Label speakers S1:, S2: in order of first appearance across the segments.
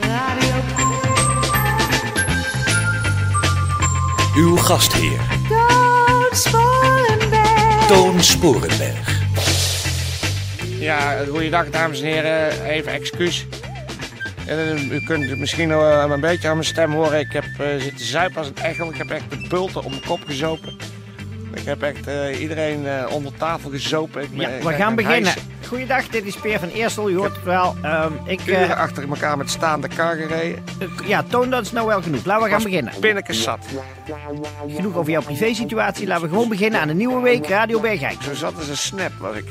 S1: Radio
S2: Uw gastheer
S1: Toon Sporenberg.
S2: Toon Sporenberg.
S3: Ja, goeiedag dames en heren. Even excuus. Eh, U kunt het misschien wel eh, een beetje aan mijn stem horen. Ik heb eh, zitten zuipen als een echel. Ik heb echt de bulten om mijn kop gezopen. Ik heb echt eh, iedereen eh, onder tafel gezopen. Ik ben-
S4: Ja,
S3: ik
S4: we
S3: ben
S4: gaan
S3: aan het
S4: beginnen.
S3: hijsen.
S4: Goeiedag, dit is Peer van Eersel. U hoort het wel. Ehm, ik, eh,
S3: Uren achter elkaar met staande kar gereden.
S4: eh, ja, toon dat is nou wel genoeg. Laten we gaan beginnen.
S3: Pinnekes zat.
S4: Genoeg over jouw privésituatie. Laten we gewoon beginnen aan een nieuwe
S3: Oh.
S4: week Radio Bergijk.
S3: Zo zat als een snap was ik.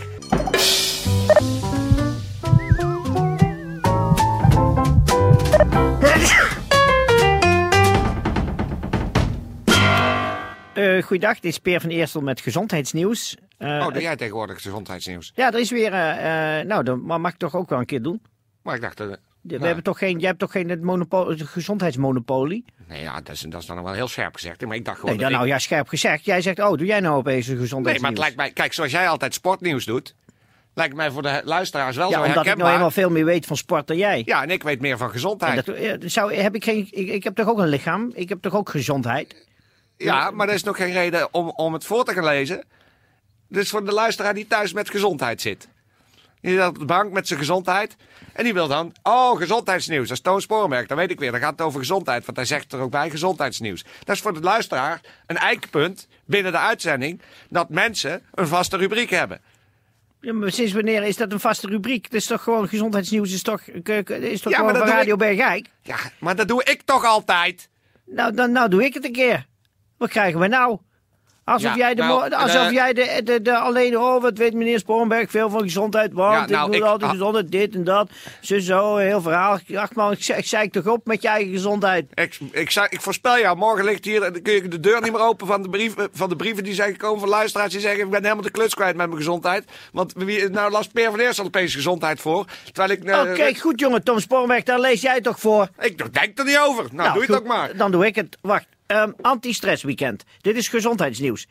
S4: Eh goeiedag, dit is Peer van Eersel met gezondheidsnieuws. Eh,
S3: Oh, doe jij tegenwoordig gezondheidsnieuws?
S4: ja, er is weer... eh, eh, nou, dat ma- mag ik toch ook wel een keer doen.
S3: Maar ik dacht... eh,
S4: We
S3: nou,
S4: hebben toch geen, jij hebt toch geen het monopo- het gezondheidsmonopolie?
S3: Nee, ja, dat is, dat is dan wel heel scherp gezegd. hè, Maar ik dacht gewoon...
S4: Nee, dan
S3: dat
S4: nou
S3: ik-
S4: ja, scherp gezegd. Jij zegt, oh, doe jij nou opeens een
S3: nee, maar
S4: gezondheidsnieuws?
S3: het lijkt mij... Kijk, zoals jij altijd sportnieuws doet... Lijkt mij voor de luisteraars wel zo
S4: Ja, omdat ik nou
S3: herkenbaar.
S4: helemaal veel meer weet van sport dan jij.
S3: Ja, en ik weet meer van gezondheid.
S4: En dat, eh, dat zou, heb ik, geen, ik, ik heb toch ook een lichaam? Ik heb toch ook gezondheid?
S3: ja, maar dat is nog geen reden om, om het voor te gaan lezen. Dus voor de luisteraar die thuis met gezondheid zit. Die zit op de bank met zijn gezondheid. En die wil dan, oh, gezondheidsnieuws. Dat is Toon Sporenberg, dat weet ik weer. Dan gaat het over gezondheid, want hij zegt er ook bij gezondheidsnieuws. Dat is voor de luisteraar een eikpunt binnen de uitzending... dat mensen een vaste rubriek hebben.
S4: Ja, maar sinds wanneer is dat een vaste rubriek? Het is toch gewoon gezondheidsnieuws, is toch, ke- ke- is toch
S3: Ja, maar
S4: gewoon
S3: dat
S4: van
S3: doe
S4: Radio
S3: ik-
S4: Bergijk?
S3: Ja, maar dat doe ik toch altijd?
S4: Nou, dan, nou doe ik het een keer. Wat krijgen we nou? Alsof
S3: Ja,
S4: jij, de,
S3: nou,
S4: mo- alsof
S3: de-
S4: jij de, de, de alleen, oh wat weet meneer Sporenberg veel van gezondheid, want
S3: Ja, nou,
S4: ik doe
S3: ik-
S4: altijd
S3: ah.
S4: gezondheid, dit en dat, zo, zo, heel verhaal. Ach man, ik zei ik zeik toch op met je eigen gezondheid.
S3: Ik, ik, zei- ik voorspel jou, morgen ligt hier, dan kun je de deur niet meer open van de, brief, van de brieven die zijn gekomen van luisteraars die zeggen, ik ben helemaal de kluts kwijt met mijn gezondheid. Want wie, nou las Peer van Eersel opeens gezondheid voor, terwijl ik... eh,
S4: Oké, goed jongen, Tom Sporenberg, daar lees jij toch voor.
S3: Ik denk er niet over. Nou, doe
S4: goed, Eh,
S3: het ook maar.
S4: Dan doe ik het. Wacht. Ehm anti-stress weekend. Dit is gezondheidsnieuws.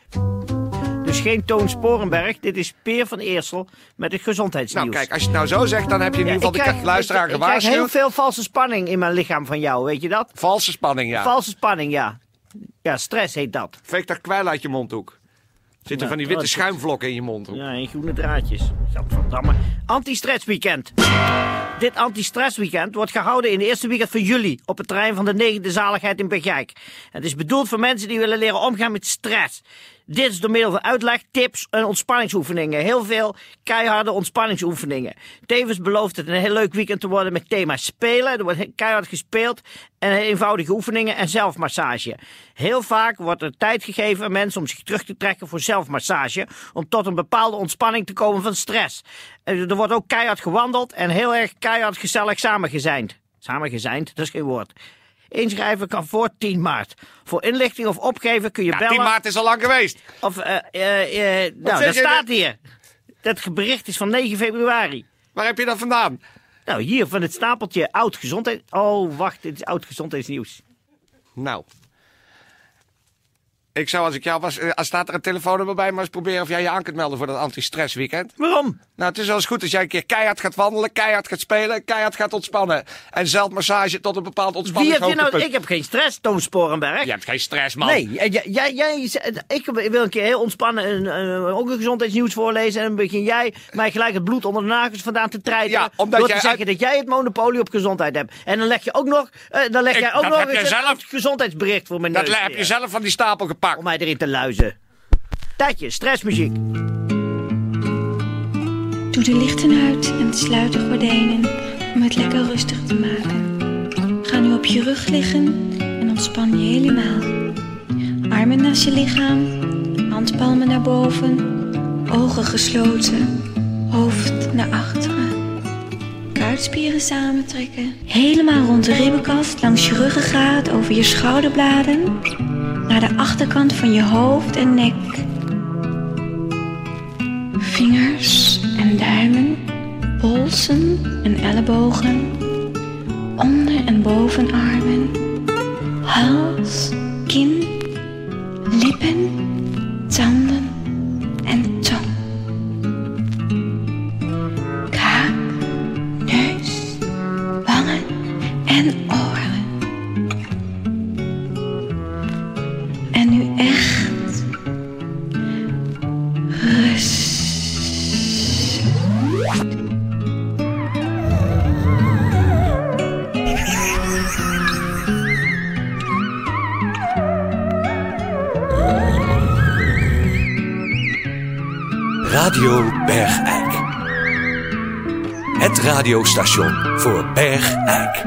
S4: Dus geen Toon Sporenberg. Dit is Peer van Eersel met het gezondheidsnieuws.
S3: Nou, kijk, als je het nou zo zegt, dan heb je in
S4: Ja,
S3: ieder geval de luisteraar
S4: ik, ik krijg heel
S3: gewaarschuwd.
S4: veel valse spanning in mijn lichaam van jou, weet je dat?
S3: Valse spanning, ja.
S4: Valse spanning, ja. Ja, stress heet dat.
S3: Veeg daar kwijl uit je mondhoek. Zitten
S4: Ja, oh,
S3: van die witte
S4: dat-
S3: schuimvlokken in je mondhoek.
S4: Ja, en groene draadjes. Gadverdamme. Anti-stress weekend. Dit anti-stress weekend wordt gehouden in de eerste weekend van juli op het terrein van de negende zaligheid in Bergijk. Het is bedoeld voor mensen die willen leren omgaan met stress. Dit is door middel van uitleg, tips en ontspanningsoefeningen. Heel veel keiharde ontspanningsoefeningen. Tevens belooft het een heel leuk weekend te worden met thema spelen. Er wordt he- keihard gespeeld en eenvoudige oefeningen en zelfmassage. Heel vaak wordt er tijd gegeven aan mensen om zich terug te trekken voor zelfmassage. Om tot een bepaalde ontspanning te komen van stress. Eh, Er wordt ook keihard gewandeld en heel erg keihard gezellig samengezijnd. Samengezijnd, dat is geen woord. Inschrijven kan voor 10 maart. Voor inlichting of opgeven kun je
S3: Ja,
S4: bellen.
S3: 10 maart is al lang geweest.
S4: Of, eh, eh, eh, nou,
S3: zeg
S4: dat
S3: je
S4: staat
S3: dit?
S4: hier. Dat bericht is van 9 februari.
S3: Waar heb je dat vandaan?
S4: Nou, hier van het stapeltje oud gezondheid. Oh, wacht, dit is oud gezondheidsnieuws.
S3: Nou. Ik zou als ik jou was, eh, als staat er een telefoonnummer bij, maar eens proberen of jij je aan kunt melden voor dat anti-stress weekend.
S4: Waarom?
S3: Nou, het is wel eens goed als jij een keer keihard gaat wandelen, keihard gaat spelen, keihard gaat ontspannen. En zelfmassage tot een bepaald
S4: Wie heb je nou?
S3: ontspanningshoogtepunt.
S4: Ik heb geen stress, Toon Sporenberg.
S3: Je hebt geen stress, man.
S4: Nee, eh, jij, jij, jij zei- ik wil een keer heel ontspannen een, een- ook een gezondheidsnieuws voorlezen. En dan begin jij mij gelijk het bloed onder de nagels vandaan te treiten.
S3: Ja, omdat
S4: door te
S3: jij
S4: zeggen
S3: uit-
S4: dat jij het monopolie op gezondheid hebt. En dan leg je ook nog, eh, dan leg
S3: Ik-
S4: jij ook
S3: dat
S4: nog
S3: heb jij
S4: eens een
S3: zelf-
S4: oud gezondheidsbericht voor mijn
S3: Dat
S4: neus
S3: heb
S4: neer.
S3: je zelf van die stapel gepakt.
S4: om mij erin te luizen. Tijdje, stressmuziek.
S5: Doe de lichten uit en sluit de gordijnen om het lekker rustig te maken. Ga nu op je rug liggen en ontspan je helemaal. Armen naast je lichaam, handpalmen naar boven, ogen gesloten, hoofd naar achteren. buikspieren samentrekken. Helemaal rond de ribbenkast, langs je ruggengraat, over je schouderbladen. Naar de achterkant van je hoofd en nek. Vingers en duimen, polsen en ellebogen. Onder- en bovenarmen. Hals, kin, lippen, tanden en tong. Kaak, neus, wangen en oren. En nu echt rust.
S2: Radio Bergijk. Het radiostation voor Bergijk.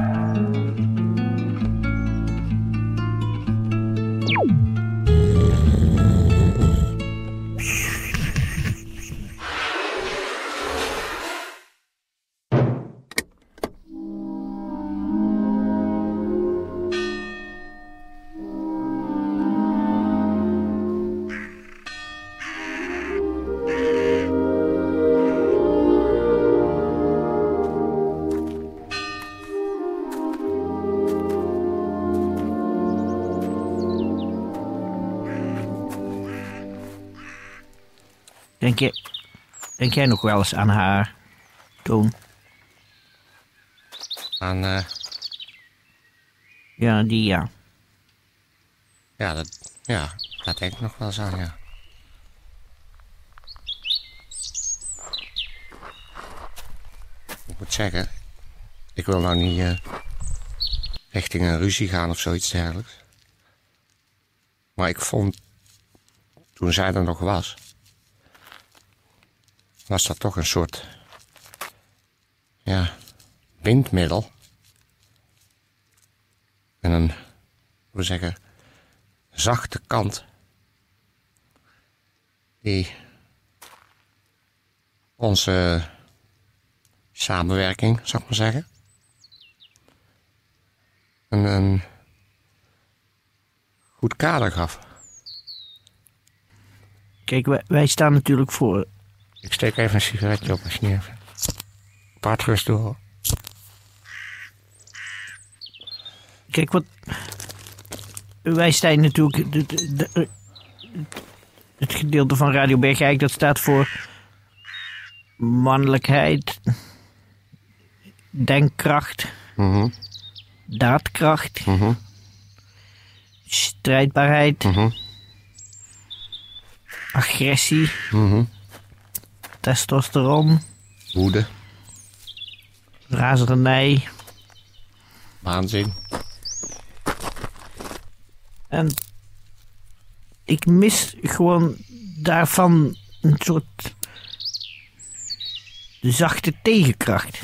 S4: Denk, je, denk jij nog wel eens aan haar, Toon?
S3: Aan, eh,
S4: Ja, die ja.
S3: ja, dat, ja, dat denk ik nog wel eens aan, ja. Ik moet zeggen, ik wil nou niet eh, richting een ruzie gaan of zoiets dergelijks. Maar ik vond, toen zij er nog was, was dat toch een soort, ja, bindmiddel. En een, hoe zeggen, zachte kant. Die onze samenwerking, zou ik maar zeggen. Een, een goed kader gaf.
S4: Kijk, wij, wij staan natuurlijk voor.
S3: Ik steek even een sigaretje op en sneer. Paard rust door.
S4: Kijk, wat. Wij staan natuurlijk. Het, het- het- eh, het gedeelte van Radio Bergijk dat staat voor. mannelijkheid. denkkracht. daadkracht. strijdbaarheid. agressie. testosteron.
S3: Woede,
S4: razernij.
S3: waanzin.
S4: En ik mis gewoon daarvan een soort zachte tegenkracht.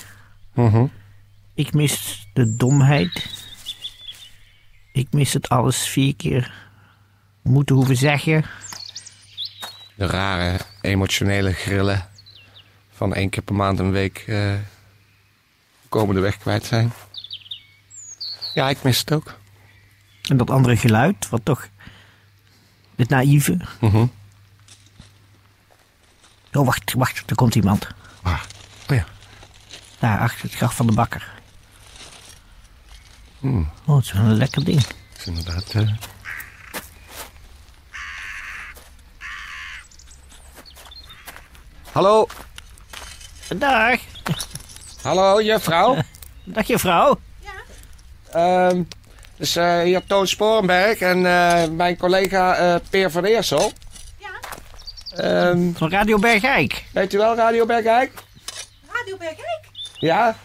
S4: Ik mis de domheid. Ik mis het alles vier keer moeten hoeven zeggen.
S3: De rare emotionele grillen van één keer per maand een week eh, komende weg kwijt zijn. Ja, ik mis het ook.
S4: En dat andere geluid, wat toch. Het naïeve. Oh, wacht, wacht, er komt iemand.
S3: Ah, oh ja.
S4: Daar, achter het graf van de bakker. Oh, het is wel een lekker ding.
S3: Het is inderdaad. eh, Hallo,
S4: Dag.
S3: hallo juffrouw.
S4: Dag je vrouw.
S3: Ehm dus eh, hier Toon Sporenberg en eh, mijn collega eh Peer van Eersel. Ja.
S4: Van Radio Bergijk.
S3: weet u wel Radio Bergijk?
S1: Radio Bergijk.
S3: Ja.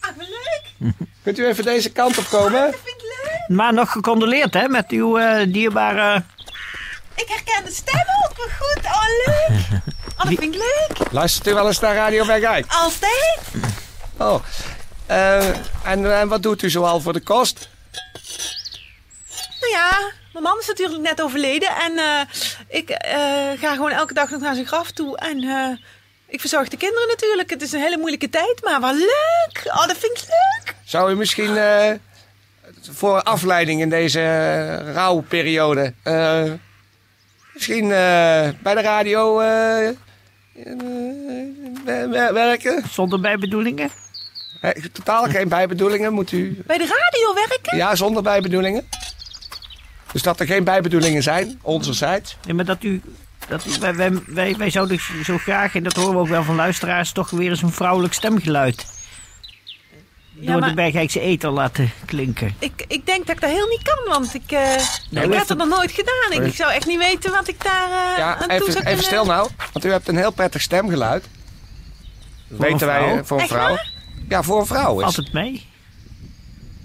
S1: Ah, wat leuk.
S3: Kunt u even deze kant op komen?
S1: Dat vind ik leuk.
S4: Maar nog gecondoleerd hè, met uw eh, dierbare...
S1: Ik herken de stem ook weer goed. Oh, leuk. Oh, dat vind ik leuk.
S3: Luistert u wel eens naar Radio Bergijk?
S1: Altijd.
S3: Oh. Eh, en, en wat doet u zoal voor de kost?
S1: Nou ja, mijn man is natuurlijk net overleden. En eh, ik eh, ga gewoon elke dag nog naar zijn graf toe. En eh, ik verzorg de kinderen natuurlijk. Het is een hele moeilijke tijd, maar wat leuk. Oh, dat vind ik leuk.
S3: Zou je misschien eh, voor afleiding in deze eh, rouwperiode... eh, misschien eh, bij de radio eh, eh, wer- wer- werken?
S4: Zonder bijbedoelingen?
S3: Eh, Totaal geen bijbedoelingen, moet u...
S1: Bij de radio werken?
S3: Ja, zonder bijbedoelingen. Dus dat er geen bijbedoelingen zijn, onzerzijds.
S4: Nee, maar dat u... Dat, u- wij, wij, wij, wij zouden zo graag, en dat horen we ook wel van luisteraars, toch weer eens een vrouwelijk stemgeluid door
S1: maar
S4: de Bergijkse eter laten klinken.
S1: ik, ik denk dat ik dat heel niet kan, want ik, eh, ik
S4: maar-
S1: heb dat nog nooit gedaan. Ik, ik zou echt niet weten wat ik daar eh,
S3: Ja,
S1: aan toe zou
S3: even,
S1: kunnen.
S3: even stil nou, want u hebt een heel prettig stemgeluid.
S4: een
S3: Weten wij
S4: vrouw?
S3: eh, voor een
S1: Echt
S3: vrouw?
S1: waar?
S3: Ja, voor een vrouw
S4: Valt
S3: is.
S4: het mee?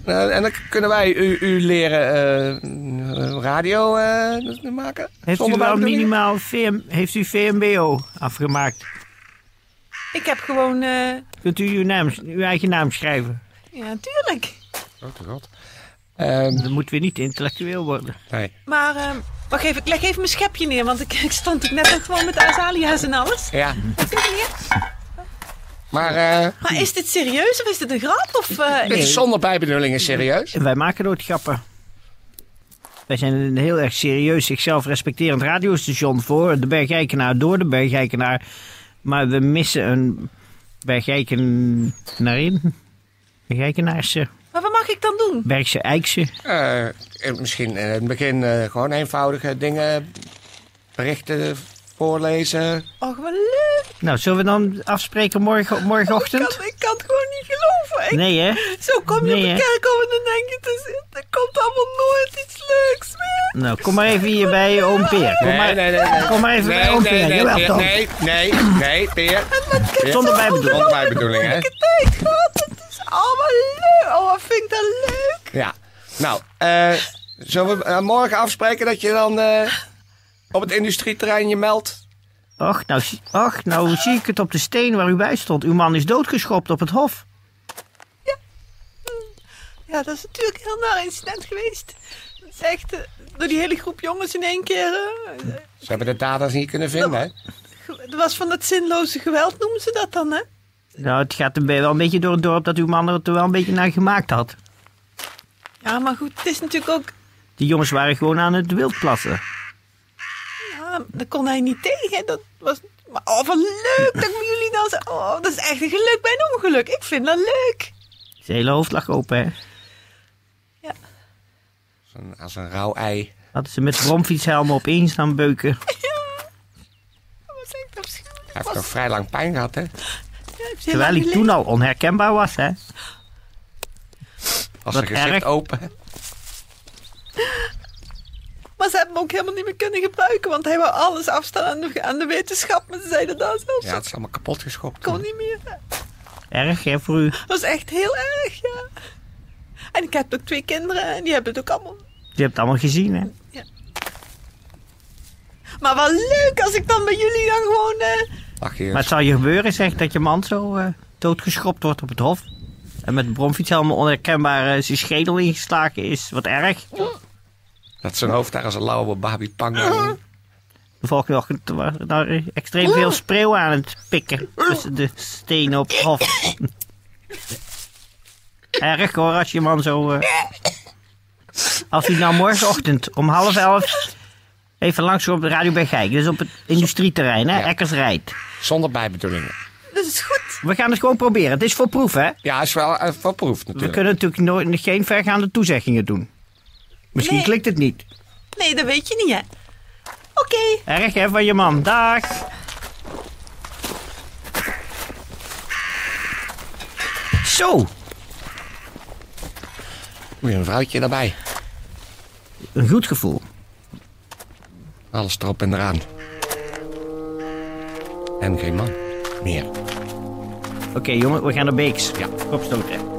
S3: Eh, en dan kunnen wij u, u leren eh, eh, radio eh, maken.
S4: Heeft u nou
S3: zonder
S4: wel
S3: bijbedoelingen.
S4: minimaal VM, heeft u VMBO afgemaakt?
S1: Ik heb gewoon... eh,
S4: Kunt u uw, naam, uw eigen naam schrijven?
S1: ja, tuurlijk.
S3: Ehm,
S4: Dan moeten we niet intellectueel worden.
S3: nee.
S1: Maar ehm, wacht even, ik leg even mijn schepje neer, want ik, ik stond ik net ook gewoon met de azalia's en alles.
S3: Ja,
S1: Leg ik neer.
S3: maar eh
S1: Maar is dit serieus of is dit een grap? Of, eh,
S3: dit is zonder bijbedoelingen serieus.
S4: En wij maken nooit grappen. Wij zijn een heel erg serieus, zichzelf respecterend radiostation voor de Bergijkenaar, door de Bergijkenaar. Maar we missen een Bergijkenaarin. Bergijkenaarse,
S1: Maar wat mag ik dan doen?
S4: Bergse Eikse.
S3: Eh, eh, misschien in het begin eh, gewoon eenvoudige dingen, berichten voorlezen.
S1: Oh, wat leuk.
S4: Nou, zullen we dan afspreken morgen,
S1: Oh, Ik
S4: morgenochtend?
S1: kan, ik kan het gewoon niet geloven. Ik-
S4: Nee, hè?
S1: Zo kom je
S4: Nee,
S1: op
S4: hè?
S1: de kerkhof en dan denk je te zitten. Er komt allemaal nooit iets leuks meer.
S4: Nou, kom maar even hier bij oom Peer. Kom maar,
S3: nee, nee, nee.
S4: kom maar even bij
S3: Nee,
S4: oom
S3: nee,
S4: Peer.
S3: nee,
S4: Jawel,
S3: Peer,
S4: toch?
S3: nee, nee, nee, Peer. Peer.
S4: Zonder bijbedoeling.
S3: Zonder bijbedoeling, hè?
S1: Ik weet wat, het is allemaal leuk. Oh, wat vind ik dat leuk.
S3: Ja. Nou, eh, zullen we eh, morgen afspreken dat je dan eh, op het industrieterrein je meldt?
S4: Och nou, zie- och, nou zie ik het op de steen waar u bij stond. Uw man is doodgeschopt op het hof.
S1: Ja, dat is natuurlijk een heel naar incident geweest. Dat is echt eh, door die hele groep jongens in één keer. eh,
S3: Ze hebben de daders niet kunnen vinden, hè?
S1: ge- Het was van dat zinloze geweld, noemen ze dat dan, hè?
S4: Nou, het gaat een be- wel een beetje door het dorp dat uw man er wel een beetje naar gemaakt had.
S1: Ja, maar goed, het is natuurlijk ook...
S4: Die jongens waren gewoon aan het wild plassen.
S1: Ja, daar kon hij niet tegen. hè. Dat was... Maar oh, wat leuk dat ik met jullie dan... zo- Oh, dat is echt een geluk bij een ongeluk. Ik vind dat leuk.
S4: Zijn hele hoofd lag open, hè?
S3: Als een, als een rauw ei.
S4: Hadden ze met bromfietshelmen op één staan beuken.
S1: Dat was echt afschuwelijk.
S3: Hij heeft nog vrij lang pijn gehad, hè?
S1: Ja, het is heel
S4: Terwijl
S1: lang
S4: hij toen
S1: geleden.
S4: al onherkenbaar was, hè?
S3: Als zijn
S4: Wat
S3: gezicht
S4: erg.
S3: open.
S1: Maar ze hebben hem ook helemaal niet meer kunnen gebruiken, want hij wou alles afstaan aan de, aan de wetenschap. Maar ze zeiden daar zelfs,
S3: Ja, het
S1: dat
S3: is allemaal kapot geschopt.
S1: kon niet meer.
S4: Erg, hè, voor u?
S1: Dat was echt heel erg, ja. En ik heb ook twee kinderen en die hebben het ook allemaal.
S4: Je hebt het allemaal gezien, hè?
S1: Maar wel leuk als ik dan bij jullie dan gewoon... eh,
S3: Ach,
S4: Maar het
S3: hier.
S4: zal je gebeuren, zeg, dat je man zo eh, doodgeschopt wordt op het hof. En met bromfietshelmen onherkenbaar eh, zijn schedel ingeslagen is. Wat erg.
S3: Dat zijn hoofd daar als een lauwe babi pang.
S4: De volgende ochtend waren daar extreem veel spreeuwen aan het pikken. Tussen de stenen op het hof. Erg hoor, als je man zo... eh, Als hij nou morgenochtend om half elf even langs op de radio bij Gijk. Dus op het industrieterrein, hè?
S3: Ja.
S4: Ekkers rijdt.
S3: Zonder bijbedoelingen.
S1: dat is goed.
S4: We gaan het gewoon proberen. Het is voor proef, hè?
S3: Ja, is wel eh, verproefd
S4: We
S3: natuurlijk.
S4: kunnen natuurlijk nooit, geen vergaande toezeggingen doen. Misschien
S1: Nee.
S4: klikt het niet.
S1: Nee, dat weet je niet, hè. Oké.
S4: Erg hè van je man. Dag. Zo,
S3: Weer een vrouwtje erbij.
S4: een goed gevoel.
S3: Alles erop en eraan. En geen man. Meer.
S4: Oké jongen, we gaan naar Beeks.
S3: Ja.
S4: Opstoten.